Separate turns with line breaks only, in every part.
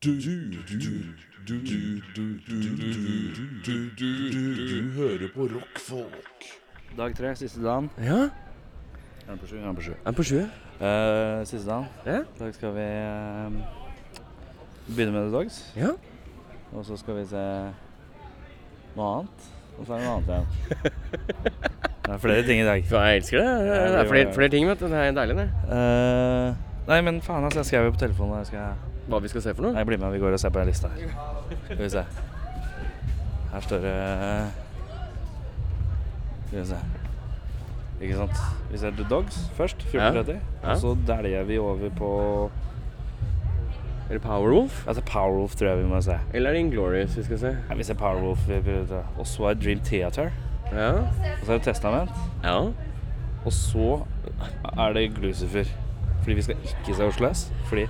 Du, du, du, du, du, du, du, du, du, du, du, du, du hører på rockfolk.
Dag tre, siste dagen.
Ja,
Gang på sju, gang på sju.
en på sju.
Eh, siste dagen.
Ja.
I dag skal vi eh, begynne med The Dogs.
Ja.
Og så skal vi se noe annet. Og så er det noe annet igjen. Det er flere ting i dag.
Jeg elsker det. Det er flere, flere ting, vet du. Det er deilig, det.
Eh, nei, men faen, altså. Jeg skrev jo på telefonen. Jeg skal...
Hva vi skal se for noe?
Nei, bli med. Vi går og ser på den lista her. Skal vi se. Her står det Skal vi se. Ikke sant. Vi ser The Dogs først, 14.30.
Ja.
Og så dæljer vi over på
Er det Powerwolf?
Altså Powerwolf tror jeg vi må se.
Eller er det Inglorious vi skal se?
Nei, vi ser Powerwolf. vi- vi- vi- Og så er det Dream Theater.
Ja.
Og så er det Testament.
Ja.
Og så er det Glucifer. Fordi vi skal ikke se Oslo S. Fordi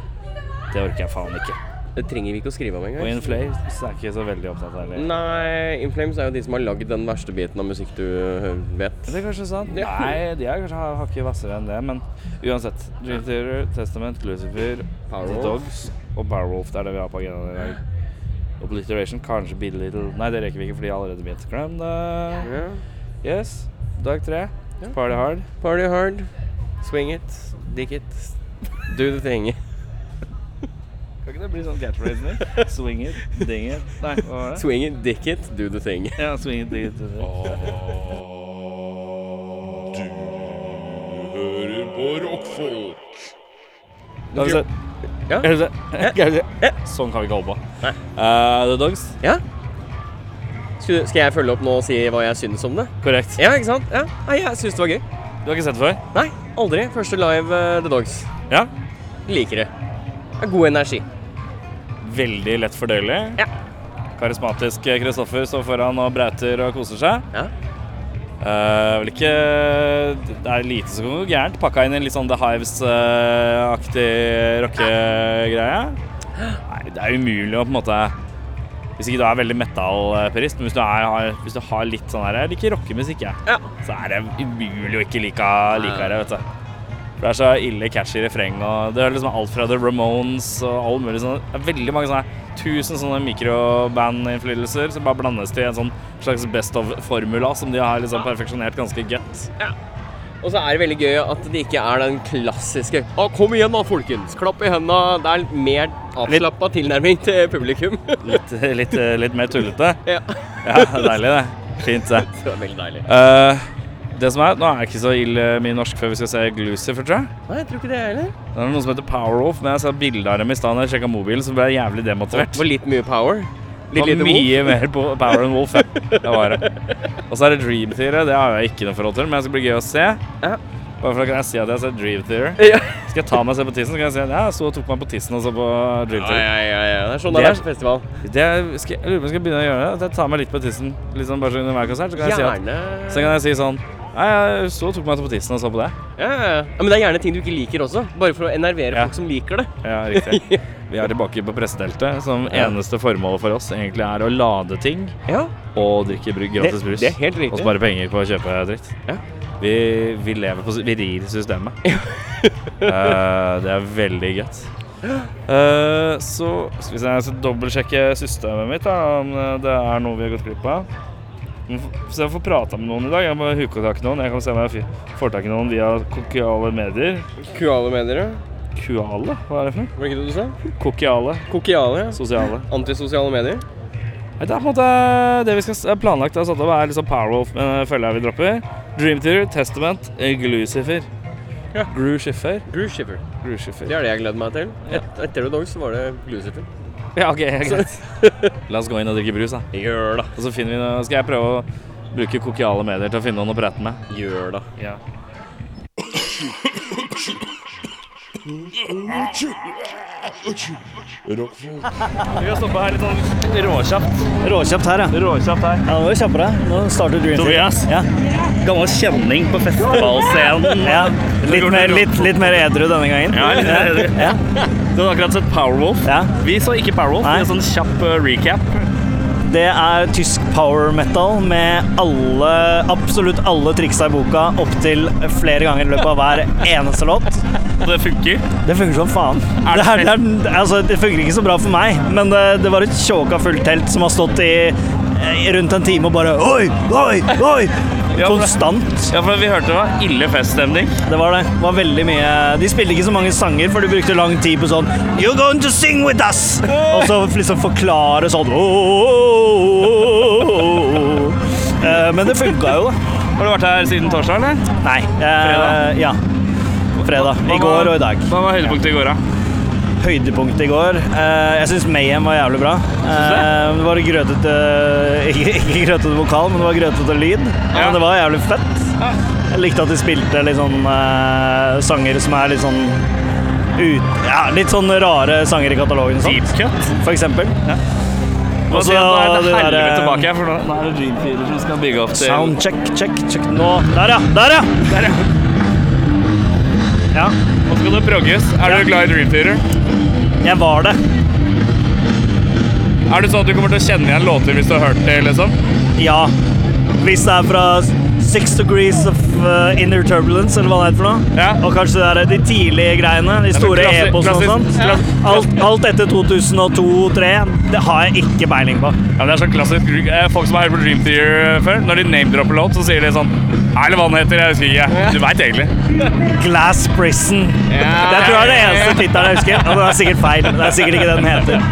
det orker jeg faen ikke.
Det trenger vi ikke å skrive om
Og
engang.
In Flames er jeg ikke så veldig opptatt av heller.
Nei, Inflames er jo de som har lagd den verste biten av musikk du øh, vet.
Det er kanskje sant.
Ja.
Nei, de er kanskje ha- hakket hvassere enn det, men uansett. Dream Theater, Testament, Lucifer, The
Powerwolf.
Dogs og Barwolf. Det er det vi har på agendaen i dag. Obliteration, kanskje Be Little Nei, det rekker vi ikke, for de har allerede begynt. Glem det.
Ja.
Yes. Dag tre.
Ja.
Party hard.
Party hard. Swing it. Dick it. Do the thing.
Kan ikke det bli sånn catchphrasing? Swing it, ding it Nei, hva var det?
Swing it, dick it, do the thing.
Ja, swing it, ding it. ding it.
Du hører på rockfolk.
Da har vi sett.
Ja.
Skal vi se. Skal vi se. Sånn kan vi ikke holde på.
Nei.
Eh, The Dogs.
Ja? Skal, skal jeg følge opp nå og si hva jeg synes om det?
Korrekt.
Ja, ikke sant? Ja. Nei, jeg synes det var gøy.
Du har ikke sett det før?
Nei, aldri. Første live eh, The Dogs.
Ja.
Liker det. Det er god energi.
Veldig lett fordøyelig.
Ja.
Karismatisk Kristoffer står foran og brauter og koser seg.
Ja.
Eh, vel ikke Det er lite som går gærent. Pakka inn i en litt sånn The Hives-aktig rockegreie. Nei, det er umulig å på en måte Hvis ikke du er veldig metal-purist, men hvis du, er, har, hvis du har litt sånn her Jeg liker rockemusikk, jeg.
Ja.
Så er det umulig å ikke like, like det, vet du. For det er så ille catchy refreng, og det er liksom alt fra The Ramones og all mulig sånn. Det er veldig mange sånne tusen sånne mikroband-innflytelser som bare blandes til en sånn slags best of-formula som de har liksom perfeksjonert ganske godt.
Og så er det veldig gøy at det ikke er den klassiske Å, kom igjen da, folkens! Klapp i henda. Det er litt mer avslappa tilnærming til publikum.
Litt, litt, litt mer tullete.
ja.
Ja, deilig det. Fint det.
Det var veldig deilig.
Eh, det som er, Nå er det ikke så ille mye norsk før vi skal se Glucifer, tror jeg.
Nei, jeg tror ikke det, jeg heller.
Det er noen som heter Powerwolf, men jeg så bilde av dem i stad da jeg sjekka mobilen, så ble jeg jævlig demotivert.
Det var litt mye power. Litt lite
det var
mot.
mye mer på Power and Wolf. ja. Det var det. Og så er det Dream Theater. Det har jeg ikke noe forhold til, men det skal bli gøy å se.
Ja.
Bare for da kan jeg si at jeg har sett Dream Theater.
Ja.
Skal jeg ta meg og se på tissen, så kan jeg si at jeg sto og tok meg på tissen og så på Dream
Ja,
Theater.
ja, ja, ja. Det er sånn
Det
det
er-
er på festival.
Det skal, jeg lurer på om jeg skal begynne å gjøre det. At jeg tar meg litt på tissen litt sånn bare så under hver konsert. Så kan jeg si at
Gjerne
så kan jeg si sånn Nei, jeg sto og tok meg på tissen og så på det.
ja, ja. ja. Men det er gjerne ting du ikke liker også. Bare for å enervere
Ja.
folk som liker det.
Ja, riktig. Vi er tilbake på presseteltet, som
Ja.
eneste formålet for oss egentlig er å lade ting
Ja,
og drikke bru- gratis
Det-
brus.
det er helt riktig.
Og spare penger på å kjøpe dritt.
Ja.
Vi, vi lever på s- Vi rir systemet. Eh, det er veldig gøy. Eh, så skal vi se, jeg skal dobbeltsjekke systemet mitt, da, om eh, det er noe vi har gått glipp av. Men f- Så jeg får prata med noen i dag. Jeg må huke tak i noen. Jeg kan se om jeg fi- får tak i noen via kokiale medier.
Kuale mener du?
Kuale? Hva er det for noe?
Var det ikke det du sa?
Kokiale.
Kokiale. ja.
Sosiale.
Antisosiale medier.
Det er på en måte det vi skal s- planlagt. Altså, det er liksom Powerwolf med følger vi dropper. Dream Theater, Testament, Glucifer.
Ja.
Glucifer.
Groove Shiver.
Glucifer.
Det er det jeg gleder meg til. Et, etter The Dogs så var det Glucifer.
Ja, ok, greit. La oss gå inn og drikke brus, da.
Gjør da.
Og så finner vi noe. skal jeg prøve å bruke kokiale medier til å finne noen å prate med.
Gjør da.
Ja.
Rockfolk.
Vi kan stoppe her litt sånn råkjapt.
Råkjapt her, ja.
Råkjapt her.
Ja, Nå er det kjappere. Nå starter Dream
Tobias.
Theater. Ja.
Gammel kjenning på festivalscenen.
Ja. Litt, mer, litt, litt mer edru denne gangen.
Ja, litt mer edru.
Ja.
Du hadde akkurat sett Powerwolf.
Ja.
Vi så ikke Powerwolf.
Nei.
Det er en sånn kjapp eh, recap.
Det er tysk power metal med alle, absolutt alle triksa i boka opptil flere ganger i løpet av hver eneste låt.
Og det funker.
Det funker som faen.
Er
det,
det
er, det, er, altså, det funker ikke så bra for meg, men det, det var et tjåka fullt telt som har stått i i rundt en time og bare Oi, oi, oi!
Ja, men-
Konstant.
Ja, for vi hørte det var ille feststemning.
Det var det. Det var veldig mye De spilte ikke så mange sanger, for de brukte lang tid på sånn You're going to sing with us! Og så liksom forklare sånn oh, «Åh, åh, åh, åh, åh». Eh, Men det funka jo, da.
Har du vært her siden torsdag, eller?
Nei. eh, Ja. Fredag. I går og i dag.
Hva var høydepunktet i går, da?
høydepunkt i går. Eh, jeg syns Mayhem var jævlig bra. Eh, det var grøtete ikke, ikke grøtete vokal, men det var grøtete lyd.
Ja.
Men det var jævlig fett.
Ja.
Jeg likte at de spilte litt sånn eh, sanger som er litt sånn ut, ja, litt sånn rare sanger i katalogen. og sånt,
Deep cut.
For eksempel.
Og
Også
så er det
det
helvete
der, eh,
tilbake her, for nå- nå er det Dreamfeeder som skal bygge opp til
Sound check, check, check. Nå Der, ja! Der, ja!
Der, ja.
ja.
Nå skal det progges. Er du glad i Dreamfeeder?
Jeg var det.
Er det sånn at du kommer til å kjenne igjen låter hvis du har hørt det, liksom?
Ja. Hvis det er fra Six Degrees of uh, Inner Turbulence, eller hva det heter for noe.
Ja.
Og kanskje det er de tidlige greiene, de store
klassi-
e-postene og
klassisk-
sånt.
ja.
Alt, alt etter 2002-2003, det har jeg ikke peiling på.
Ja, men Det er sånn klassisk eh, Folk som har hørt på Dream Theater eh, før, når de name-dropper låt, så sier de sånn Nei, Eller hva den heter, jeg husker ikke. Du veit egentlig.
Glass Prison.
Ja.
Det tror jeg er det eneste tittelen jeg husker. Og den er sikkert feil. Det er sikkert ikke det den heter.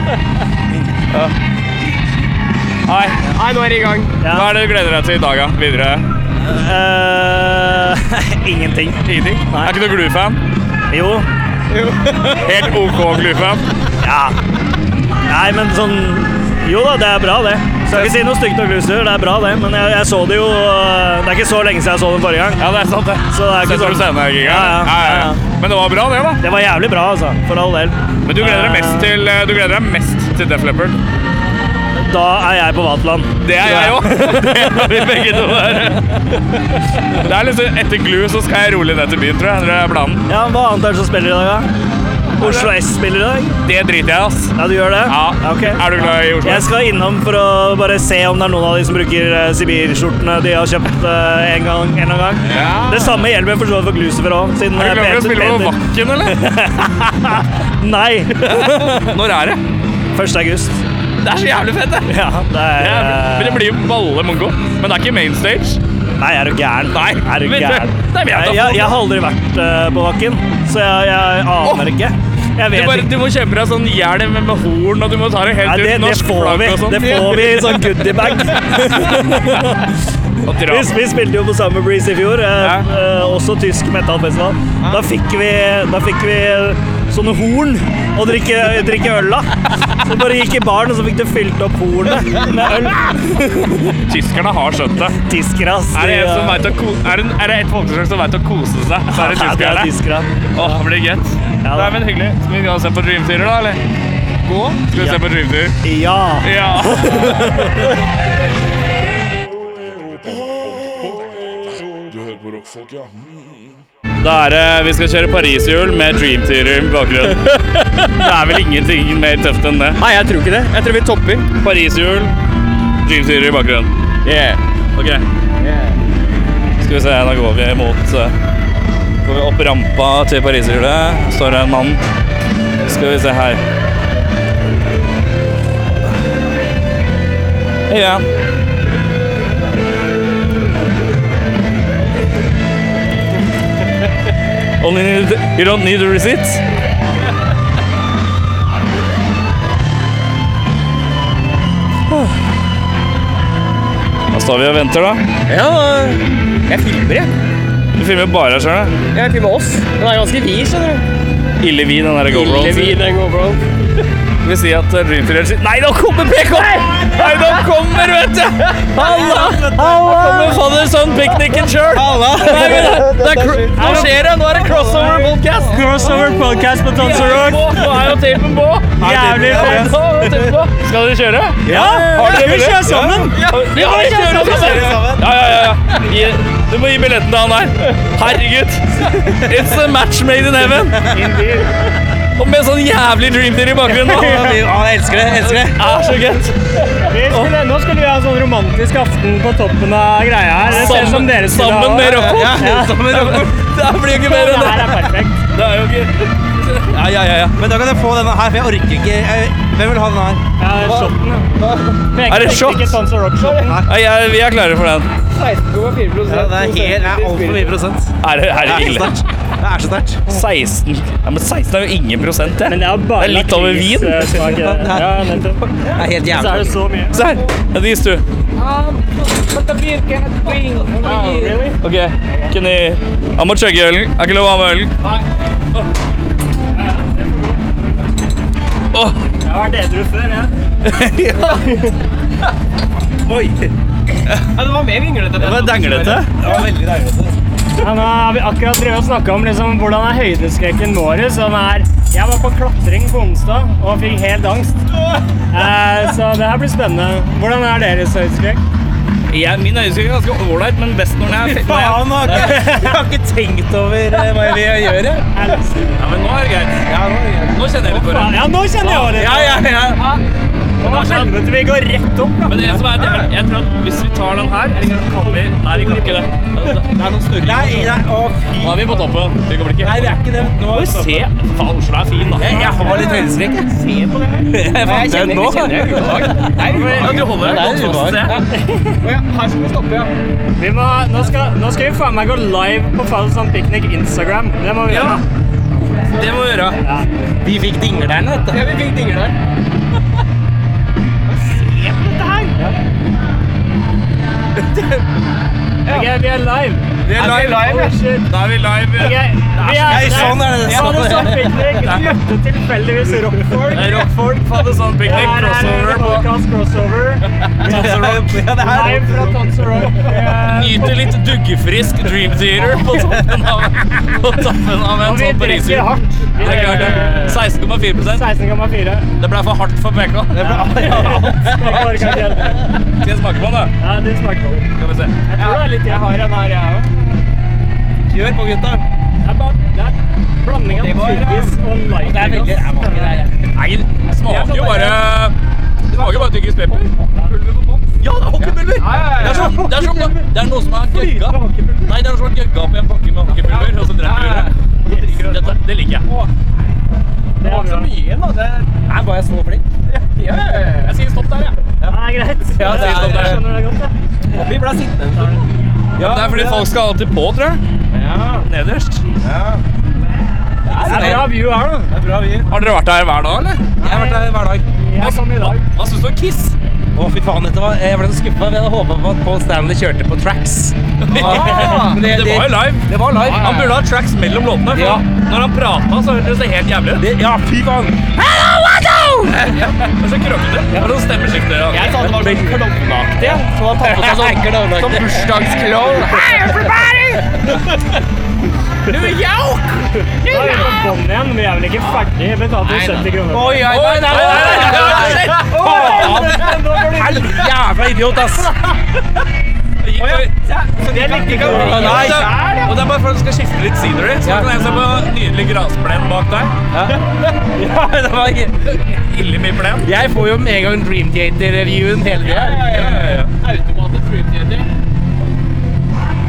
Nei.
Nei, nå er det i gang.
Ja.
Hva er det du gleder deg til i dag, da? Videre?
Eh, ingenting.
Ingenting?
Nei.
Er ikke du Glue-fan?
Jo.
Helt OK Glue-fan?
Ja. Nei, men sånn Jo da, det er bra, det. Skal ikke si noe stygt om Gluser, det er bra, det. Men jeg, jeg så det jo øh, Det er ikke så lenge siden jeg så den forrige gang.
Ja, det er sant, det.
Så det er ikke
Setter du
sånn.
scenegiga?
Ja, ja, ja, ja.
Men det var bra, det, da.
Det var jævlig bra, altså. For all del.
Men du gleder deg
Eh,
mest til, eh, du gleder deg mest til Def Leppard.
Da er jeg på Vatland.
Det er jeg òg. Det er vi begge to der. Det er liksom Etter Glue så skal jeg rolig ned til byen, tror jeg. Det er planen.
Ja, Hva annet er det som spiller i dag, da? Oslo S spiller i dag?
Det driter jeg i, ass.
Ja, du gjør det?
Ja.
ok.
Er du glad i Oslo?
Jeg skal innom for å bare se om det er noen av de som bruker eh, Sibir-skjortene de har kjøpt eh, en gang. En eller annen gang.
Ja.
Det samme gjelder vel for så vidt for Glucifer òg. Siden
Er du glad for å
Peter-
spille på
Peter-
Vakken, eller?
Nei.
Når er det?
1. august.
Det er så jævlig fett, det.
Ja, det
Det
er, eh,
er, men det blir jo balle mongo. Men det er ikke main stage.
Nei, er du gæren?
Nei,
er du
men-
gæren?
Nei, men jeg vet
jeg,
da faen.
jeg har aldri vært eh, på Vakken, så jeg, jeg aner ikke. Jeg
Du,
vet
bare,
ikke.
du må kjøpe deg sånn hjelm med horn, og du må ta det helt
Nei, det,
ut.
det
Norsk
får
flagg
vi.
og sånn.
Det får vi i sånn goodiebag.
Og dra.
Vi, vi spilte jo på Summer Breeze i fjor, eh,
Ja.
eh, også tysk metalfestival. Da fikk vi, da fikk vi eh, sånne horn å drikke, drikke øl av. Så vi bare gikk i baren, og så fikk du fylt opp hornet med øl.
Tyskerne har skjønt det.
Tyskere, ass.
Er det, en
De,
som
eh,
vet å ko er det, er det et folkeslag som veit å kose seg, så er det
ja, de er
tyskerne.
tyskere.
Åh, det blir gøtt.
Ja,
Nei,
da.
men hyggelig. Skal vi gå og se på Dreamfeeder, da, eller? Gå? Skal vi se på Dreamfeeder?
Ja.
Ja.
Du hører på rockfolk, ja. Mm.
Da er det Vi skal kjøre Pariserhjul med Dreamfeeder i bakgrunnen. Det er vel ingenting mer tøft enn det.
Nei, jeg tror ikke det. Jeg tror vi topper.
Pariserhjul, Dreamfeeder i bakgrunnen.
Yeah.
Ok. Skal vi se, da går vi mot eh, Går vi opp rampa til pariserhjulet. Står det en mann. Skal vi se her. Hei igjen. Only need, you don't need a receipt? Da står vi og venter, da.
Ja, jeg filmer, jeg.
Du filmer bare deg sjøl, da.
Jeg filmer oss. Den er ganske vid, skjønner du.
Ille vid, den der GoPro.
Ille vid, den GoPro.
Det vil si at eh, Dreamfielder sier Nei, nå kommer PK! Nei, nå kommer, vet du! Halla! Nå kommer fader sånn pikniken sjøl! Nei, men det- det er cro- Nå skjer det! Nå er det crossover podcast!
Crossover podcast på Tons Rock.
Nå nå er jo tapen på!
Jævlig
fett!
fett.
Skal dere kjøre?
Ja,
Har dere
vi
det?
kjører sammen.
Ja, vi kjører sammen! Ja, ja, ja. ja. Gi, du må gi billetten til han her. Herregud! It's a match made in heaven! Og med sånn jævlig Dream Theater i bakgrunnen. da.
jeg elsker det! elsker det
Det er så gøtt.
Nå skulle vi ha en sånn romantisk aften på toppen av greia her. Det ser ut som dere skulle
sammen med
ha.
Rocco.
sammen med Rocco.
Det her blir jo ikke
Det
mer enn
her er perfekt.
Det er jo ikke Ja, ja, ja. ja.
Men da kan jeg få denne her, for jeg orker ikke jeg, Hvem vil ha den her?
Ja, det er shotten. ja. Men jeg
Er det
tenkte
shot?
Ikke sånn som rock-shotten.
Nei, jeg, vi er klare for den.
Ja, det er helt, det er altfor mye prosent.
Er det, er det
Det er så
ille?
sterkt. Det er så sterkt.
16. Ja, men 16 er jo ingen prosent, det.
Men det er bare
Det er litt over vin.
lakrismak i det. Ja, nettopp.
Det er helt
Så er det
jævlig.
så mye.
Se her. Ja, det gis du. OK. Kan jeg Jeg må chugge ølen. Er ikke lov å ha med ølen. Åh,
Jeg har vært edru før, jeg.
det var denglete.
Ja, nå har vi akkurat drevet og snakket om liksom, hvordan er høydeskrekken vår. Som er Jeg var på klatring på onsdag og fikk helt angst. Eh, så det her blir spennende. Hvordan er deres høydeskrekk?
Jeg, min øyeskygge er ganske ålreit, men best når den er fe- når jeg-
Faen, jeg har ikke- jeg har ikke tenkt over eh, hva jeg vil gjøre.
Ja, men nå er det greit.
Ja, nå,
Nå kjenner jeg litt på det.
Ja, nå kjenner jeg det!
ja, ja, ja.
Nå kjenner vi at vi går rett opp. Da.
Men det som er, det er, jeg tror at hvis vi tar den her eller kan vi, Nei, vi kan ikke det. Da
Nei, nei, å fy.
er vi på toppen. Vi kommer ikke.
Nei, vi er ikke det. Nå
Bare se. Faen, Oslo er fin, da.
Jeg, jeg har litt høydeskrekk, jeg. Se på det her. Jeg fant det ut nå.
Ja, du holder deg godt fast et sted.
Vi må, nå, skal, nå skal vi faen meg gå live på Falsand Picnic Instagram. Det må vi gjøre.
Det må vi gjøre.
Vi fikk dingleren, vet du.
Ok, vi er live.
Vi er live.
Oh, shit.
Da er vi live.
Ok, vi er,
Nei, sånn er det, sånn er det.
Falsand Picnic møtte tilfeldigvis rockfolk.
Det er Rockford, Faddesand Picnic,
Her er
crossover
en
på
podcast crossover.
Ja, det her.
Live fra Tonsor Rock. Eh,
Nyter litt duggefrisk Dream Theater på toppen av, på toppen av en
Og vi
sånn pariser.
drikker hardt. Vi
Det er klart det.
drikker
16,4 prosent.
16,4.
Det ble for hardt for PK.
Det ble-
Jeg orker ikke helt.
Skal jeg smake på den, da?
Ja, det smaker godt.
Skal vi se.
Jeg tror det er litt jeg har en her, jeg òg.
Kjør på, gutta.
Det er bare det er blanding av tyggis og light.
Det er veldig jeg må ikke det her.
Nei, det smaker jo bare Det smaker jo bare tyggis pepper.
Ja, det er hockeypulver!
Det er, som, det, er som, det er noe som er gøgga. Nei, det er noe som er gøgga opp i en pakke med hockeypulver, og så dreper du det. Dette, det liker jeg.
Det er bra.
Her var jeg så flink.
Jeg sier stopp der, jeg.
Ja, det er greit.
Ja, det er-
jeg skjønner det godt, jeg.
Vi ble sittende. Ja,
Det er fordi folk skal alltid på, tror jeg. Nederst.
Det er bra view her, da.
Det er bra, vi. Jeg
Har dere vært der hver dag, eller?
har vært her hver dag.
Jeg kom i dag.
Hva syns du om Kiss?
Å, fy faen, dette var, jeg ble så skuffa. Jeg hadde håpa på at Paul Stanley kjørte på tracks. Men
Ah, det,
det-
var jo live.
Det var live.
Han burde ha tracks mellom låtene.
Ja.
For når han prata, så hørtes det helt jævlig ut.
Det, ja, fy faen.
Det er så krøkkete. Det er sånn stemmeskifte. Ja.
Jeg sa det var sånn klovnaktig. ja. Så han tatt på seg sånn
Sånn
som bursdagsklovn. Hei, everybody! New York!
Da er vi på bånn igjen. Vi er vel ikke ferdig? Jeg betalte jo 70 kroner.
Oi, oi, oi, nei, nei, nei, nei, nei. Hel- Jævla idiot, ass.
Det likte ikke
Å,
jeg.
Nei.
Og det er bare for at du skal skifte litt scenery, så
Ja.
kan jeg se på nydelig grasplen bak deg.
Ja, det var ikke...
Ille mye plen.
Jeg får jo med en gang Dream Theater-reviewen hele tida.
Automatisk streamtheater.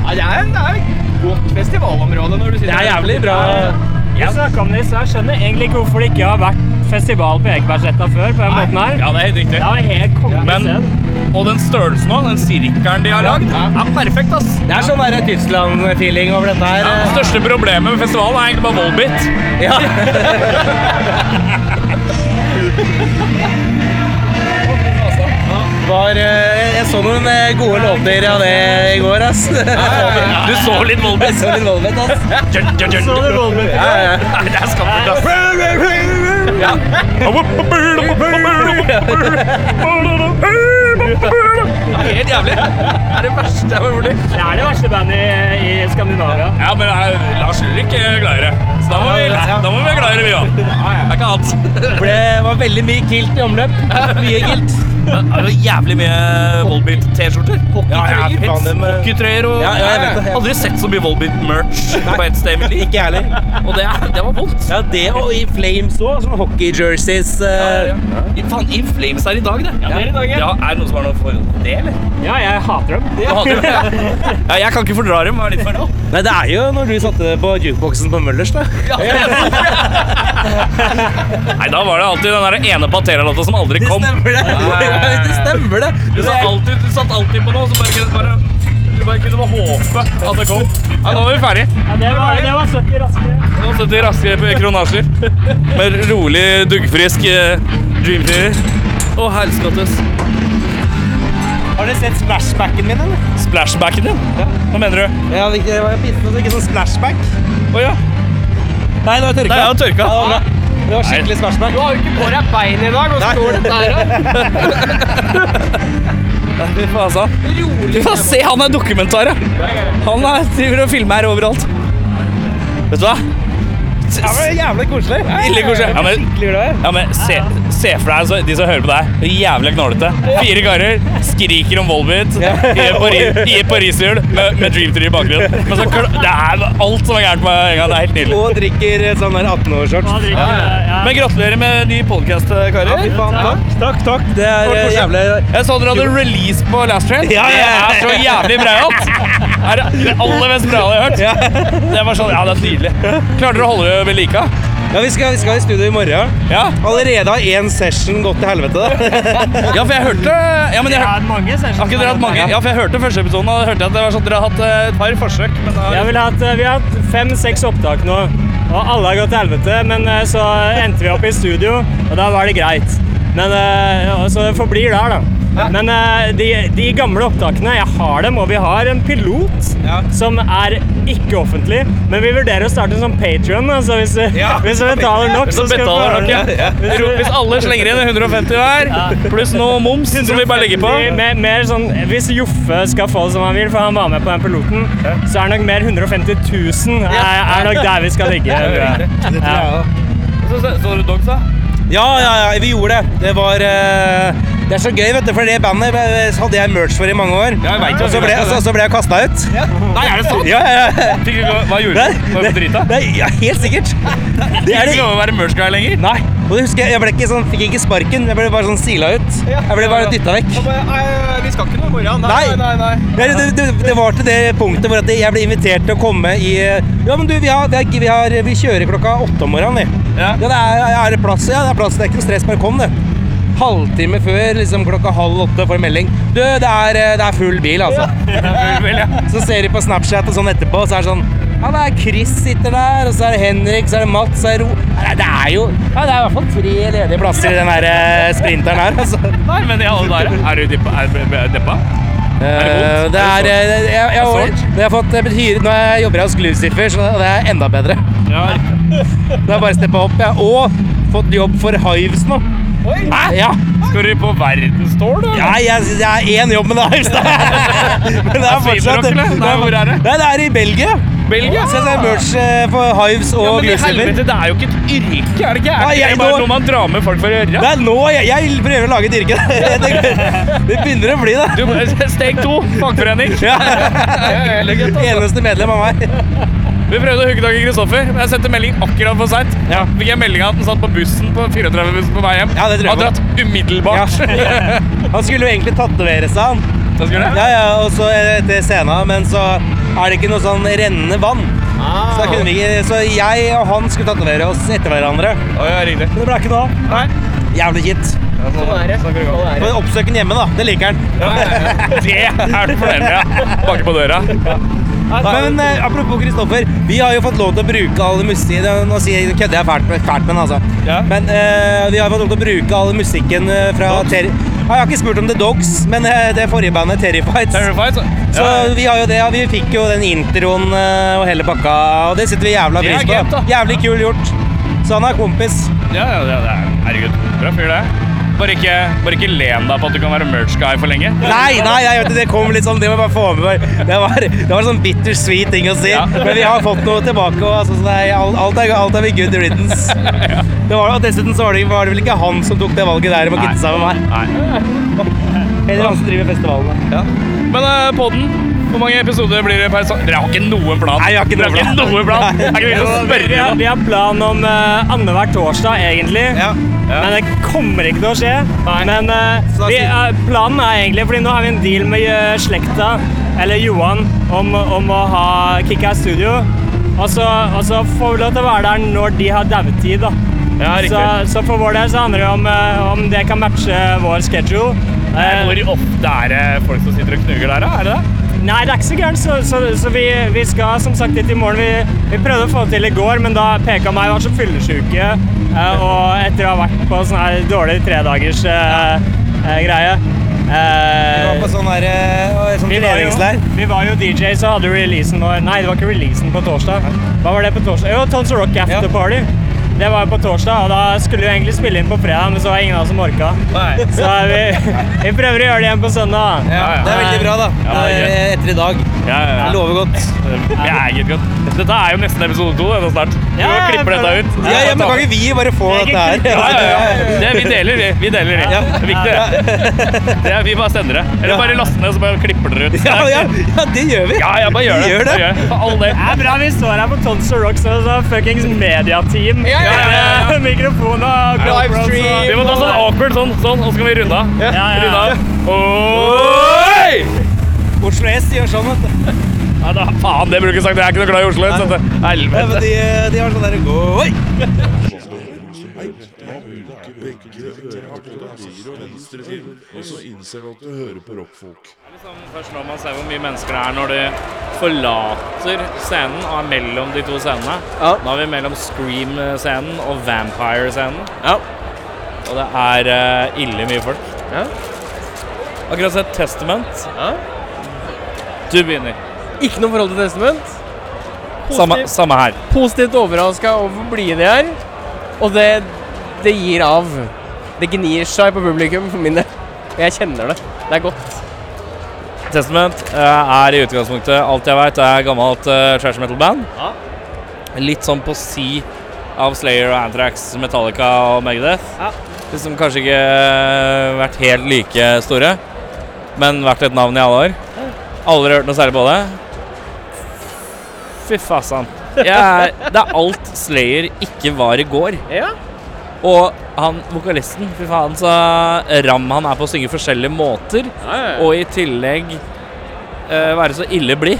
Ja, det er, det er et godt festivalområde når du sitter
Det er jævlig bra.
Vi snakket om det, så jeg skjønner egentlig ikke hvorfor det ikke har vært festival på Ekebergsletta før. på den måten her.
Ja, det er helt riktig.
Det var helt
Men-
kongested.
Og den størrelsen nå, den sirkelen de har lagd, er perfekt, ass.
Det er sånn der Tyskland-feeling over dette her.
Ja, det største problemet med festivalen er egentlig bare Volbit.
Ja. Var, eh, jeg så noen eh, gode låter av det i går, ass.
Du så litt
Jeg
Volbit.
så litt Volvet, ass.
Dun, dun, dun.
Så du Volbit?
Ja, ja, ja.
Nei, det er skammelt, ass.
Ja.
Ja.
Det er helt jævlig. Det er det verste jeg har gjort.
Det er det verste bandet i, i Skandinavia.
Ja, men eh, Lars Ulrik er gladere. Så da må vi, da må vi være gladere, vi òg. Det er ikke annet.
For det var veldig mye kilt i omløp. Mye kilt.
Det er jo jævlig mye Volbeat-T-skjorter.
Hockeytrøyer.
Hockeytrøyer og
Ja, ja, jeg vet det. Jeg-
Aldri sett så mye Volbeat-merch på ett sted i mitt liv.
Ikke jeg heller.
Og det, er- det var vondt.
Ja, det og i Flames òg. Sånne hockeyjerseys. eh,
I- Faen, In Flames er i dag, det. Ja,
det er i dag, ja.
ja. Er det noen som har noe forhold til det, eller?
Ja, jeg hater dem.
Ja, det er det. ja, jeg kan ikke fordra dem. Hva er ditt forhold?
Nei, det er jo når du satte på jukeboksen på Møllers, da.
Nei, da var det alltid den der ene Patera-låta som aldri
Det
kom.
stemmer det!
Nei.
Det stemmer det!
Du satt alltid, du satt alltid på noe, så bare, kunne- bare, du bare kunne bare håpe at det kom. Ja, nå er vi ferdig.
det var, det var 70 raskere.
Nå setter vi raske kronasjer. Med rolig, duggfrisk eh, dreamfeeder. Å, helskottes.
Har du sett splashbacken min, eller?
Splashbacken din? Hva mener du?
Ja, det var jeg pissende, så ikke sånn splashback.
Å ja.
Nei, det var tørka.
Nei, jeg har tørka.
det, var bra. det var skikkelig splashback.
Du har jo ikke på deg bein i dag, og så står det der. da.
Fy faen, altså. Du får se, han er dokumentar, ja. Han er, driver og filmer her overalt. Vet du hva?
Det var jævlig koselig.
Ille koselig. Ja, men-
Skikkelig glad.
Ja, men se, se for deg altså, de som hører på deg. Jævlig knålete. Fire karer skriker om Volbit i et pari- i et pariserhjul med, med Dream 3 i bakgrunnen. Men så, kl- det er alt som er gærent med en gang. Det er helt nydelig.
Og drikker eh, sånn der 18-årsshorts.
Ja, ja.
Men gratulerer med ny podkast, karer.
Takk, takk, takk.
Det er eh, jævlig
Jeg så dere hadde release på Last Train.
Ja, ja, ja.
Det er så jævlig braut. Det er det aller beste brauet jeg har hørt. Det var sånn, ja, det er nydelig. Klarer dere å holde det ved like?
Ja, vi skal, vi skal i studio i morgen.
Ja?
Allerede har én session gått til helvete, da.
ja, for jeg hørte ja, men jeg, hør-
mange
Har ikke dere hatt mange? sånn Ja, for jeg hørte første episoden, og da hørte jeg at det var sånn at dere har hatt eh, et par forsøk. Men da,
Jeg vil ha hatt, vi har hatt fem-seks opptak nå, og alle har gått til helvete. Men eh, så endte vi opp i studio, og da var det greit. Men, eh, ja, så det forblir der, da. Men eh, de, de gamle opptakene, jeg har dem, og vi har en pilot som er ikke offentlig. Men vi vurderer å starte en sånn Patrion, altså hvis, hvis vi betaler nok,
Så
så skal vi få
betaler
høre
dere.
det.
Jeg tror Hvis alle slenger inn 150 hver, pluss noe moms som vi bare legger på
Mer, mer, mer sånn, hvis Joffe skal få det som han vil, for han var med på den piloten, så er nok mer 150 000 er, eh, er nok der vi skal ligge. tror jeg. Ja.
Så så dere Dogs, da?
Ja, ja, ja, vi gjorde det. Det var eh, Det er så gøy, vet du, for det bandet ble- hadde jeg merch for i mange år.
jeg vet jo.
og så ble, altså, så, så ble jeg kasta ut.
Nei, er det sant?
Ja, ja, ja.
Fikk du, hva gjorde du? Var du på drita?
Nei, ja, helt sikkert. Det er
Ikke
det.
lov å være merch guy lenger?
Nei. Og jeg husker, jeg ble ikke sånn, fikk ikke sparken. Jeg ble bare sånn sila ut. Jeg ble bare dytta vekk.
Vi skal ikke noe i morgen.
Nei. Ja, det, det, det var til det punktet hvor at jeg ble invitert til å komme i Ja, men du, vi, har, vi, har, vi, har, vi kjører klokka åtte om morgenen, vi. Ja, det er, er det plass? Ja, det er plass. Det er ikke noe stress, bare kom, du. Halvtime før, liksom klokka halv åtte, får en melding. Du, det er, eh, det er full bil, altså. Så ser de på Snapchat og sånn etterpå, så er det sånn Ja, det er Chris sitter der, og så er det Henrik, så er det Mats, så er det Ro... Nei, det er jo Ja, det er i hvert fall tre ledige plasser i den der eh, sprinteren her, altså.
Nei, men i alle dager. Er du deppa? Er, du deppa?
Eh,
Er det vondt?
Det
Er
er
det
eh, jeg, jeg,
Er
jeg,
det
jeg har fått jeg blitt hyret Nå jeg jobber jeg hos Glucifer, så det er enda bedre.
Ja.
Det er bare å steppe opp. Jeg har òg fått jobb for Hives nå. Hæ? Ja.
Skal du på verdenstål, da?
ja jeg, jeg har én jobb med Hives, da. Men det er fortsatt
Fribrokk, eller? Nei, hvor er det?
Nei, det er i Belgia.
Belgia?
Så det er merch eh, for Hives
Ja,
og
men i
Glucifer.
helvete, det er jo ikke et yrke, er det ikke? Er
Nei,
det ikke
jeg-
det bare
nå-
noe man drar med folk for å gjøre?
Det er nå jeg, jeg prøver å lage et yrke. Det, det begynner å bli det.
Du, eh, steg to, fagforening.
Ja.
Veldig gøy, altså.
Eneste medlem av meg.
Vi prøvde å hooke tak i Kristoffer, men jeg sendte melding akkurat for seint. Fikk jeg melding av at han satt på bussen på 34-bussen på vei hjem.
Ja, det tror jeg
Han
på.
dratt umiddelbart.
Ja. Han skulle jo egentlig tatovere seg, han.
Så skulle det?
Ja, ja, og så etter scenen, men så er det ikke noe sånn rennende vann. Så, da kunne vi, ikke- så jeg og han skulle tatovere oss etter hverandre.
Å, ja, riktig.
Men det ble ikke noe av.
Nei.
Jævlig kjipt. Får oppsøke den hjemme, da. Det liker han.
Det er du fornøyd med, ja. Banke på døra.
Men eh, apropos Kristoffer, vi har jo fått lov til å bruke alle musikken Nå sier jeg- kødder jeg fælt med, fælt med den, altså.
Ja.
Men eh, vi har fått lov til å bruke all musikken eh, fra Terry... Jeg har ikke spurt om The Dogs, men eh, det forrige bandet, Terrifights.
Terrified, så.
Så vi har jo det, ja. vi fikk jo den introen eh, og hele pakka, og det setter vi jævla
Det er
pris på.
greit, da.
Jævlig kul gjort. Så han er kompis.
Ja, ja, ja, det er, herregud. Bra fyr, det. Bare ikke, bare ikke len deg på at du kan være merch guy for lenge.
Nei, nei, jeg vet, ikke, det kom litt sånn, det må jeg bare få med meg. Det var, det var en sånn bittersweet ting å si. Men vi har fått noe tilbake, og altså, så det er, alt, alt, er, alt er ved good riddance. Det var, og dessuten så var det, var det vel ikke han som tok det valget der om å kutte seg med meg. Eller han som driver festivalene.
Men eh, podden, hvor mange episoder blir det per sa- Dere har ikke noen plan?
Nei, jeg har ikke
Dere
noen plan.
noen plan. Jeg kan ikke
Vi
spørre
har,
om
vi har plan om uh, annenhver torsdag, egentlig. Men det kommer ikke til å skje. Men eh,
Så da
vi,
sier-
eh, planen er egentlig Fordi nå har vi en deal med eh, slekta, eller Johan, om, om å ha Kickass Studio. Og så, og så får vi lov til å være der når de har dautid, da.
Ja, riktig.
så, så for vår del så handler det om eh, om det kan matche vår schedule. Eh,
Hvor ofte er det folk som sitter og knuger der, da? Er det det?
Nei, det er ikke så gærent, så, så, så vi, vi skal som sagt dit i morgen. Vi, vi prøvde å få det til i går, men da PK og meg var så fyllesyke. eh, og etter å ha vært på sånn her dårlig tredagers eh, eh, greie
Det var
eh,
på sånn der, eh, sånn
vi var,
turneringsleir.
jo, vi var jo DJ, så hadde releasen vår Nei, det var ikke releasen på torsdag. Hva var det på torsdag? Jo, Tons of Rock
Ja.
After Party. Det var jo på torsdag, og da skulle vi egentlig spille inn på fredag, men så var det ingen av oss som orka. Så vi, vi prøver å gjøre det igjen på søndag.
Ja, det er veldig bra, da.
Ja,
Det er, eh, etter i dag.
Ja, ja, ja.
Det lover godt.
Meget godt. Dette er jo nesten episode to. Det er snart. Du må
Ja, jeg
klippe dette
føler-
ut.
Ja, ja, men kan ikke vi bare få dette her?
Ja, ja, ja. Det, vi deler, vi. Vi deler, vi. Det er viktig, det. det er, vi bare sender det. Eller bare last ned, så bare klipper dere ut.
Ja, ja, ja, det gjør vi.
Ja, ja, bare gjør det.
Gjør det.
Bare gjør det. For all del.
Det er bra vi står her på Tons og Rocks og så fuckings mediateam.
Ja, ja, ja, ja.
Mikrofon og GoPro.
Livestream.
Vi må ta sånn awkward sånn, sånn, og så kan vi runde av.
Ja, ja.
Runde av. Oi!
Oslo S gjør sånn, vet du.
Ja, da, faen, det burde du ikke sagt. Jeg er ikke noe glad i Oslo. Så det,
Ja, men
helvete.
de, de har sånn der gå. Oi!
Og så innser du at du hører på rockfolk.
Først når man ser hvor mye mennesker det er når de forlater scenen og er mellom de to scenene.
Ja.
Nå er vi mellom Scream-scenen og Vampire-scenen.
Ja.
Og det er eh, ille mye folk.
Ja.
Akkurat sett Testament.
Ja.
Du begynner.
Ikke noe forhold til Testament.
Samme, samme her.
Positivt overraska over hvor blide de er. Og det, det gir av. Det gnir seg på publikum for min del. Jeg kjenner det. Det er godt.
Testament eh, er i utgangspunktet alt jeg vet er gammelt eh, trash metal-band. Litt sånn på si av Slayer og Anthrax, Metallica og Megadeth. Liksom kanskje ikke eh, vært helt like store, men vært et navn i alle år. Aldri hørt noe særlig på det. Fy fasan. Jeg er- Det er alt Slayer ikke var i går.
Ja.
Og han vokalisten, fy faen, så ram han er på å synge forskjellige måter. Og i tillegg eh, være så ille blid.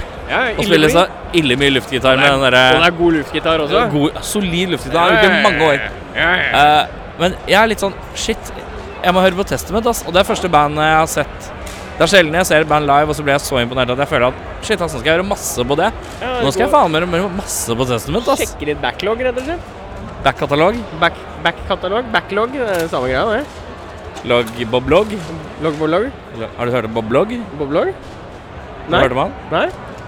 Og spille så ille mye luftgitar med den
Og det
derre
er god altså. luftgitar også.
God, solid luftgitar. Det har jeg gjort i mange år. Eh, men jeg er litt sånn Shit, jeg må høre på Testament, ass. Og det er første band jeg har sett. Det er sjelden jeg ser et band live, og så blir jeg så imponert at jeg føler at shit, ass, nå skal jeg høre masse på det. Nå skal jeg faen meg høre masse på Testament, ass.
Sjekke litt backlog, rett og slett.
Backkatalog.
Back, backkatalog, backlog, det er samme greia, det.
Log Boblog.
Logbog-logg.
Har du hørt om Boblog?
Boblog?
Nei.
Nei.
Hørte man?
Nei?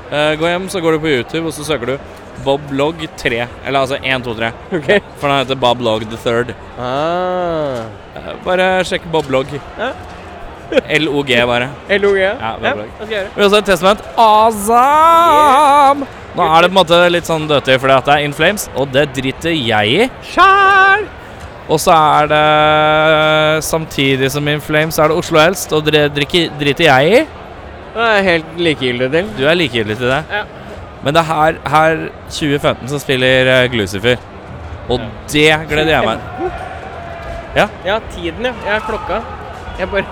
Eh, gå hjem, så går du på YouTube, og så søker du Bob Log 3. Eller altså 1, 2, 3.
Ok.
For den heter Bob Log the Third.
Ah.
Eh, bare sjekk Bob Log.
Ja.
LOG, bare.
LOG.
Ja,
Ja,
Boblog.
hva skal jeg gjøre?
Vi har også et testament. Azam! Nå er det på en måte litt sånn dødtid fordi at det er In Flames, og det driter jeg i.
Kjær!
Og så er det Samtidig som In Flames er det Oslo Helst, og det drikker- driter jeg i.
Det er jeg helt likegyldig til.
Du er likegyldig til det.
Ja.
Men det er her, her 2015 som spiller eh, Glucifer. Og det gleder jeg meg
Ja, tiden, ja. Jeg har klokka. Jeg bare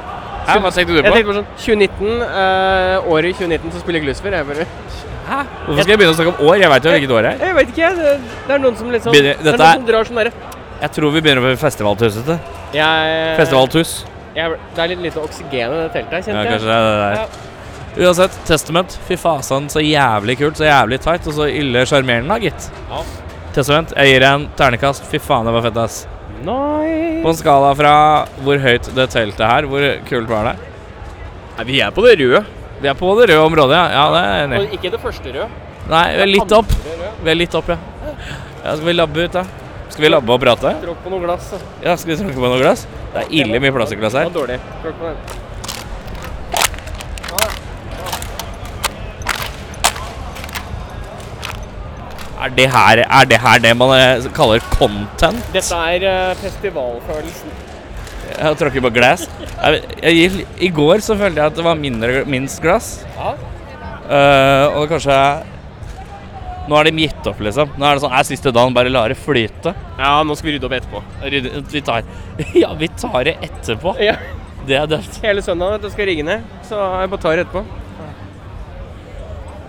Hæ, Hva tenkte du
Jeg tenkte bare sånn 2019, eh, året 2019 så spiller Glusfer. Jeg bare
Hæ? Hvorfor skal jeg begynne å snakke om år? Jeg veit jo hvilket år det er.
Jeg vet ikke, jeg. Det, det er noen som liksom
Begynner-
Det
dette
er noen
er-
som drar sånn derre
Jeg tror vi begynner på festivaltusete.
Jeg-
Festivaltus.
jeg- Det er litt lite oksygen i det teltet,
Ja,
kjente
kanskje det er det der. Uansett, Testament. Fy fasan, så jævlig kult, så jævlig tight, og så ille sjarmerende, da, gitt. Testament, jeg gir deg en ternekast. Fy faen, det var fett, ass.
Nei.
På en skala fra hvor høyt det teltet her, hvor kult var det?
Nei, Vi er på det røde.
Vi er på det røde området, ja. ja det er jeg enig. i.
Og ikke det første røde.
Nei, vi er litt opp. Vi er litt opp, ja. ja skal vi labbe ut, da? Skal vi labbe og prate?
Tråkk på noe glass. da. Det
Ja, skal vi tråkke på noe glass? Det er ille mye plast i glass her.
var dårlig. Tråkk på den.
Er det her er det, her det man eh, kaller content?
Dette er eh, festivalfølelsen.
Jeg tråkker på glass. Jeg, jeg, gir- I går så følte jeg at det var mindre, minst glass.
Ja.
Eh, og kanskje Nå er de gitt opp, liksom. Nå er det sånn er siste dagen, bare la det flyte.
ja, nå skal vi rydde opp etterpå.
Rydde- Vi tar Ja, vi tar det etterpå.
Ja.
Det er dødt.
Hele søndagen vet du, skal jeg rigge ned, så er jeg på tar etterpå.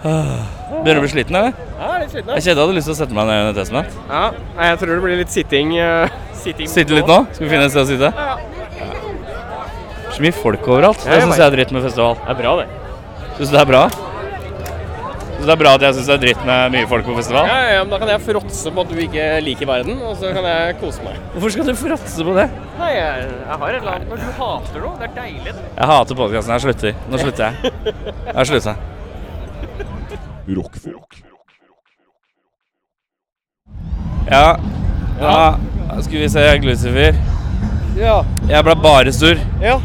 Begynner du å bli sliten, eller?
Ja, litt sliten.
Jeg kjente jeg hadde lyst til å sette meg ned under testen. her.
Ja, nei, jeg tror det blir litt sitting. eh, sitting
Sitte litt nå? Skal vi finne et sted å sitte? Ja. Så mye folk overalt. Det
jeg
syns jeg er dritt med festival.
Det er bra, det.
Syns du det er bra? Syns du det er bra at jeg syns det er dritt med mye folk på festival?
Ja, ja, ja, men da kan jeg fråtse på at du ikke liker verden, og så kan jeg kose meg.
Hvorfor skal du fråtse på det?
Nei, jeg, jeg har et eller annet. Når du hater noe, det er deilig.
Jeg hater podkasten. Jeg slutter. Nå slutter jeg. Jeg slutter.
Rockfolk.
Ja. ja. Skal vi se, Glucifer.
Ja.
Jeg ble bare sur.
Ja.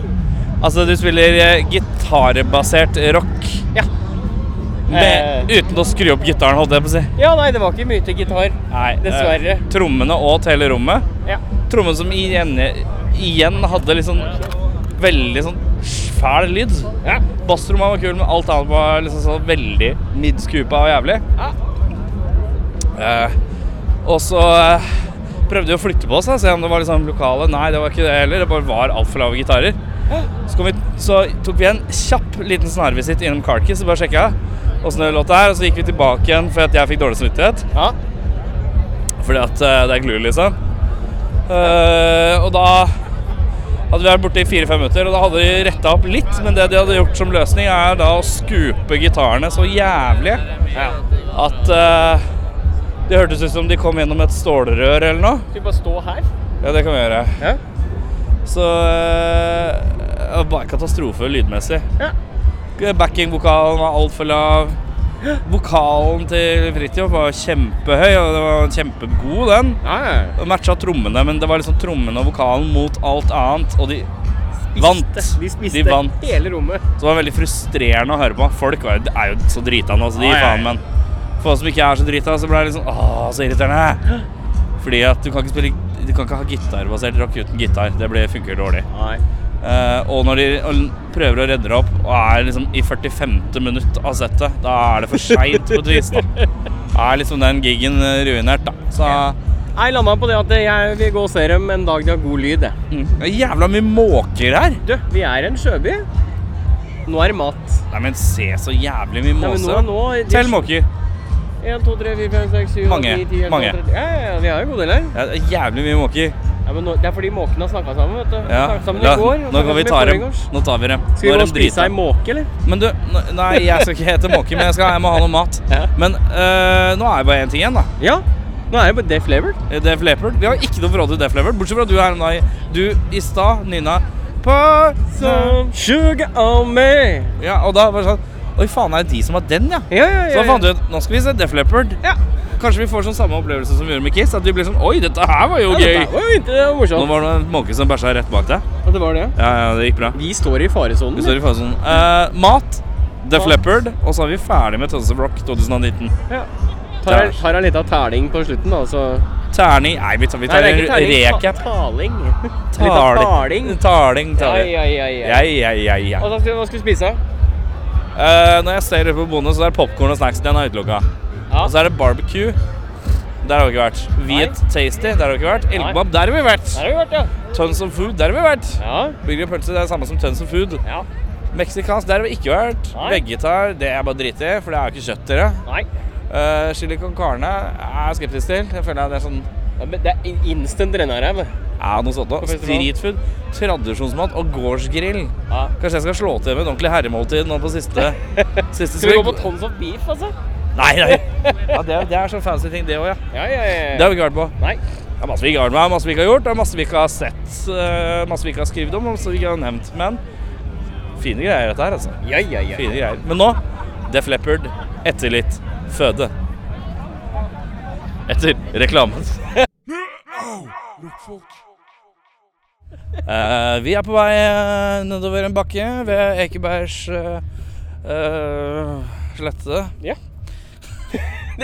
Altså, du spiller eh, gitarbasert rock.
Ja. Eh.
Med, uten å skru opp gitaren, holdt jeg på å si.
Ja, nei, det var ikke mye til gitar.
Nei,
Dessverre.
eh, Trommene og hele rommet.
Ja.
Trommene som igjen, igjen hadde litt sånn veldig sånn fæl lyd.
Ja.
Bassrommet var kul, men alt annet var liksom sånn veldig midtskupa og jævlig.
Ja.
Eh, og så eh, prøvde vi å flytte på oss, da, se om det var liksom lokale. Nei, det var ikke det heller. Det bare var altfor lave gitarer. Så, kom vi, så tok vi en kjapp liten snarvisitt innom Carcass og bare sjekka åssen det låt der. Og så gikk vi tilbake igjen fordi at jeg fikk dårlig samvittighet.
Ja.
Fordi at eh, det er glue, liksom. Eh, og da hadde vi vært borte i fire-fem minutter, og da hadde de retta opp litt. Men det de hadde gjort som løsning, er da å skupe gitarene så jævlig at eh, det hørtes ut som de kom gjennom et stålrør eller noe.
Skal vi bare stå her?
Ja, det kan vi gjøre.
Ja.
Så eh, det var Bare katastrofe lydmessig.
Ja.
Backing-vokalen var altfor lav. Vokalen til Fridtjof var kjempehøy, og det var kjempegod, den.
Ja, ja, ja.
Og matcha trommene, men det var liksom trommene og vokalen mot alt annet, og de vant.
De spiste
De vant.
hele rommet.
Så det var veldig frustrerende å høre på. Folk var, jo- er jo så drita nå, så de
Ja,
gir
ja,
faen, men for oss som ikke er så drita, så ble det liksom Åh, så irriterende. Fordi at du kan ikke spille Du kan ikke ha gitarbasert rock uten gitar. Det blir, funker dårlig.
Nei.
Eh, og når de og prøver å redde det opp og er liksom i 45. minutt av settet, da er det for seint på et vis. Da Da er liksom den gigen eh, ruinert, da. Så
Jeg landa på det at jeg vil gå og se dem en dag de har god lyd. jeg.
mm. Det er jævla mye måker her.
Du, vi er en sjøby. Nå er det mat.
Nei, men se så jævlig
Nei,
mye
men
måser.
nå, nå,
Tell måker.
1, 2, 3, 4, 5, 6, 7,
Mange,
9, 10, 11,
mange.
12, 13. Ja, ja, ja, vi har jo en god del her.
Ja, det er jævlig mye måker.
Ja, men nå, det er fordi måkene har snakka sammen. vet du.
Ja.
Snakket sammen
la-
i går. og
nå kan
snakket
vi ta
sammen i
dem.
forgårs.
Nå tar vi dem.
Skal vi
nå
gå
er
og
de
spise
drita.
ei måke, eller?
Men du, n- nei, jeg skal ikke hete måke, men jeg, skal, jeg må ha noe mat.
Ja.
Men øh, nå er det bare én ting igjen, da.
Ja. Nå er det bare Def Leppard.
Eh, Def Leppard. Vi har ikke noe forhold til Def Leppard, bortsett fra du her om dagen. Du i stad nynna på
Some sugar on me.
Ja, og da var det sånn Oi, faen, er det de som har den, ja?
Ja, ja, ja.
Så da fant vi ut nå skal vi se Def Leppard.
Ja.
Kanskje vi får sånn samme opplevelse som vi gjorde med Kiss. At vi blir sånn Oi, dette her var jo
Ja,
gøy.
dette var jo ikke
Nå
morsomt.
var det en måke som bæsja rett bak deg.
Ja, det var det.
Ja, ja, det gikk bra.
Vi står i faresonen.
Vi står i fasen. Eh, mat, Def
Mat.
Leppard, og så er vi ferdig med Tons of Rock 2019.
Ja. Tar, tar en liten terning på slutten, da. Så.
Terning Nei, vi tar, vi tar en recap.
ta- Taling.
Tale-
Litt av taling.
Taling,
Ja,
taling.
ja, ja, ja.
Ja, ja, ja, ja.
Og så skal, hva skal vi spise?
Eh, når jeg ser ut på bonus, så er det popkorn og snacks. Den er utelukka.
Ja.
Og så er det barbecue. Der har vi ikke vært. Viet Tasty, der har vi ikke vært. Elkebab, der har vi vært.
Der har vi vært, ja.
Tons of Food, der har vi vært.
Ja.
Burger og pølse, det er det samme som Tons of Food.
ja.
Meksikansk, der har vi ikke vært.
Nei.
Vegetar, det er jeg bare drit i, for det er jo ikke kjøtt, dere.
Nei.
Eh, chili con carne er jeg skeptisk til. Jeg føler at det er sånn
Ja, men Det er in- instant rennarev.
ja, noe sånt
På
også.
festival.
Streetfood, tradisjonsmat og gårdsgrill.
Ja.
Kanskje jeg skal slå til med et ordentlig herremåltid nå på siste siste
Skal vi gå
sving?
på Tons of Beef, altså?
Nei, nei. Ja, det, er, det er sånn fancy ting, det òg, ja.
Ja, ja, ja.
Det har vi ikke vært på.
Nei.
Det er masse vi ikke har vært med, masse vi ikke har gjort, det er masse vi ikke har sett, eh, masse vi ikke har skrevet om, masse vi ikke har nevnt. Men fine greier, dette her, altså.
Ja, ja, ja.
Fine greier. Men nå Def Leppard, etter litt føde. Etter reklamen.
rockfolk.
Eh, vi er på vei eh, nedover en bakke ved Ekebergs eh, eh, slette.
Det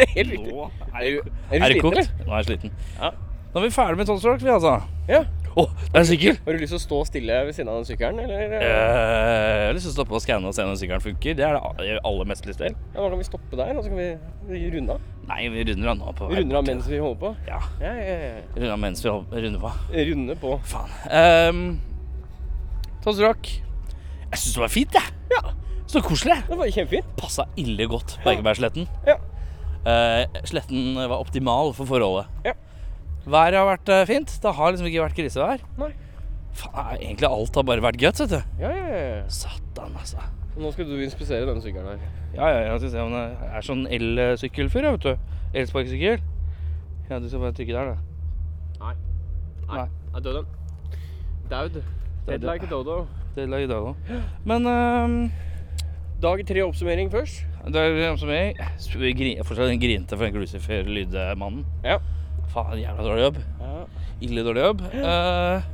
er helt riktig. Er du, er du
Er det
sliten,
kokt?
eller?
Nå er jeg sliten.
Ja.
Nå er vi ferdig med Tonstalk, vi altså.
Ja.
Å, det er sykkel!
Har du lyst til å stå stille ved siden av den sykkelen, eller?
Eh, jeg har lyst til å stoppe og skanne og se om den sykkelen funker. Det er det jeg aller mest lyst til.
Ja, da kan vi stoppe der, og så kan vi runde av.
Nei, vi runder av nå på
Vi
vei.
Runder av mens vi holder på.
Ja.
Ja, ja, ja.
Runder av mens vi hold- runder på.
Runde på.
Faen. Um, Tonstalk. Jeg syns det var fint, jeg. Ja. Så koselig.
Det var kjempefint.
Passa ille godt på Ekebergsletten.
Ja.
Eh, sletten var optimal for forholdet.
Ja.
Været har vært eh, fint. Det har liksom ikke vært krisevær.
Nei.
Faen, egentlig alt har bare vært guts, vet du.
Ja, ja, ja.
Satan, altså.
Og Nå skal du inspisere denne sykkelen her.
Ja, ja, jeg skal se om det er sånn elsykkelfyr, vet du. Elsparkesykkel. Ja, du skal bare trykke der, da.
Er død den? Daud. Dead
Død.
like a dodo.
Det la jeg i dag da. Men um,
Dag tre oppsummering først.
det er jo som jeg sp- gri- fortsatt en grinte for inclusive lydmannen.
Ja.
Faen, jævla dårlig jobb.
Ja.
Ille dårlig jobb. Eh,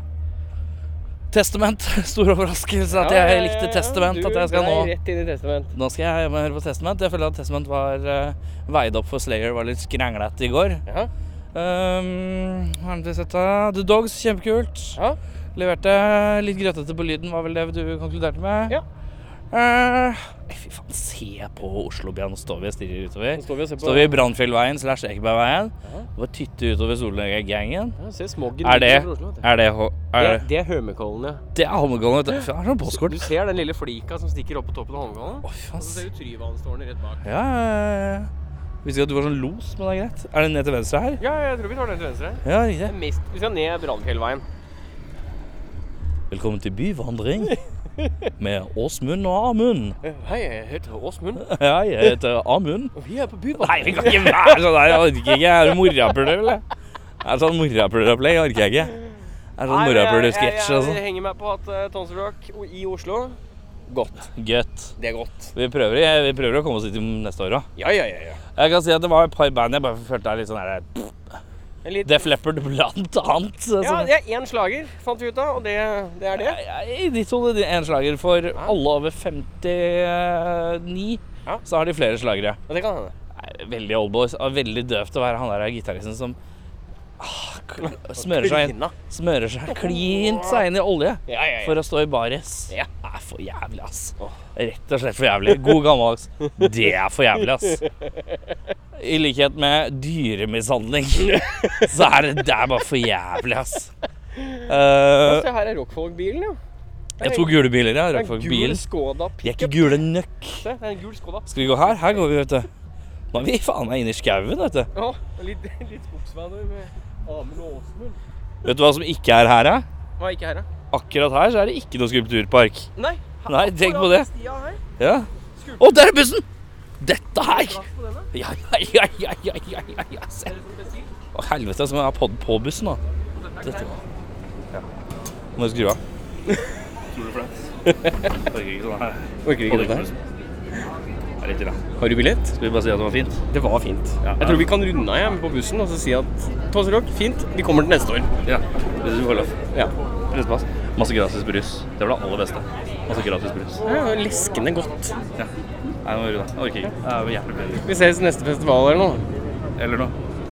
testament. Stor overraskelse at jeg likte Testament. At jeg skal nå
rett inn i testament.
Nå skal jeg hjem og høre på Testament. Jeg føler at Testament var eh, veid opp for Slayer. Var litt skranglete i går.
Ja.
Um, har vi sett da? The Dogs, kjempekult.
Ja.
Leverte litt grøtete på lyden, var vel det du konkluderte med?
Ja.
Eh, fy faen, se på Oslo-byen. Nå står vi og stirrer utover.
Nå står vi og ser på
Står vi i Brannfjellveien slash Ekebergveien. Bare tytter utover Solnøya-gangen.
Ja, se smogen
Er det
utenfor Oslo, vet du.
Er det hå- er
Det,
det,
det er Hømekollen, ja.
det er Holmenkollen, vet du. Fy faen, det er sånn
Du
postkort.
ser den lille flika som stikker opp på toppen av Holmenkollen?
Å, fy faen.
Og så ser du Tryvannstårnet rett bak.
Ja, ja, ja, ja. Visste ikke at du var sånn los, men det er greit. Er det ned til venstre her?
Ja, jeg tror vi tar den til venstre.
Ja, riktig.
Mest, vi skal ned Brannfjellveien.
Velkommen til Byvandring med Åsmund og Amund.
Hei, jeg heter Åsmund,
Ja, jeg heter Amund.
og vi er på Bybanen.
Nei, vi kan ikke være sånn der. Jeg orker ikke. Er du morapuler, eller? Er det sånn morapuleropplegg? Orker jeg ikke. Er det sånn morapuler-sketsj og
Jeg, jeg,
sånn?
jeg henger meg på at uh, Tonsor Rock og- i Oslo Godt.
Gøtt.
Det er godt.
Vi prøver, vi prøver å komme oss dit neste år òg.
Ja, ja, ja. ja.
Jeg kan si at det var et par band jeg bare følte er litt sånn der
En litt-
Def Leppard blant annet. Som,
ja, Altså, det er én slager, fant vi ut av, og det, det er det.
I ditt hode det er en slager. For alle over 59
Ja.
så har de flere slagere.
Ja, det kan hende.
Nei, Veldig oldboys. og Veldig døvt å være han der gitaristen som ah, kl- smører seg inn
Klina.
Smører seg klint seg inn i olje.
Ja, ja, ja.
For å stå i baris.
Ja.
Det er for jævlig, ass. Rett og slett for jævlig. God gammeldags. Det er for jævlig, ass. I likhet med dyremishandling, så er det, det er bare for jævlig, ass. Eh,
Se, her er rockfolk-bilen, ja.
jeg tok gule biler, jeg.
Det er en
Rødfolk
gul
bilen.
Skoda
De er ikke
pickup.
gule nøkk.
Se, det er en gul Skoda.
Skal vi gå her? Her går vi, vet du. Nå er vi faen meg inne i skauen, vet du.
Ja, litt, litt skogsvaner med Amund og Åsmund.
Vet du hva som ikke er her, da?
Hva er ikke her, da?
Akkurat her så er det ikke noe skulpturpark.
Nei,
Nei, tenk på det.
stia her.
Ja. Å, der er bussen! Dette her!
Traff på denne.
Ja, ja, ja, ja, ja, ja, ja, se.
Er det som bestilt?
Å, helvete, som jeg har podd på bussen nå. Dette var... Ja. Må jeg skru av. Tror du flaut?
Orker ikke dette her.
Det er litt ille.
Har du billett?
Skal vi bare si at det var fint?
Det var fint. Jeg tror vi kan runde av hjemme på bussen og så si at Tåserok, fint, vi kommer til neste år.
Ja, hvis du får lov.
Ja.
Pressepass. Masse gratis brus. Det var det aller beste. Masse gratis brus.
Det er jo Leskende godt.
Ja. Nei, nå gjør du det. Jeg orker ikke. Det er jo jævlig bedre.
Vi ses neste festival eller noe.
Eller noe.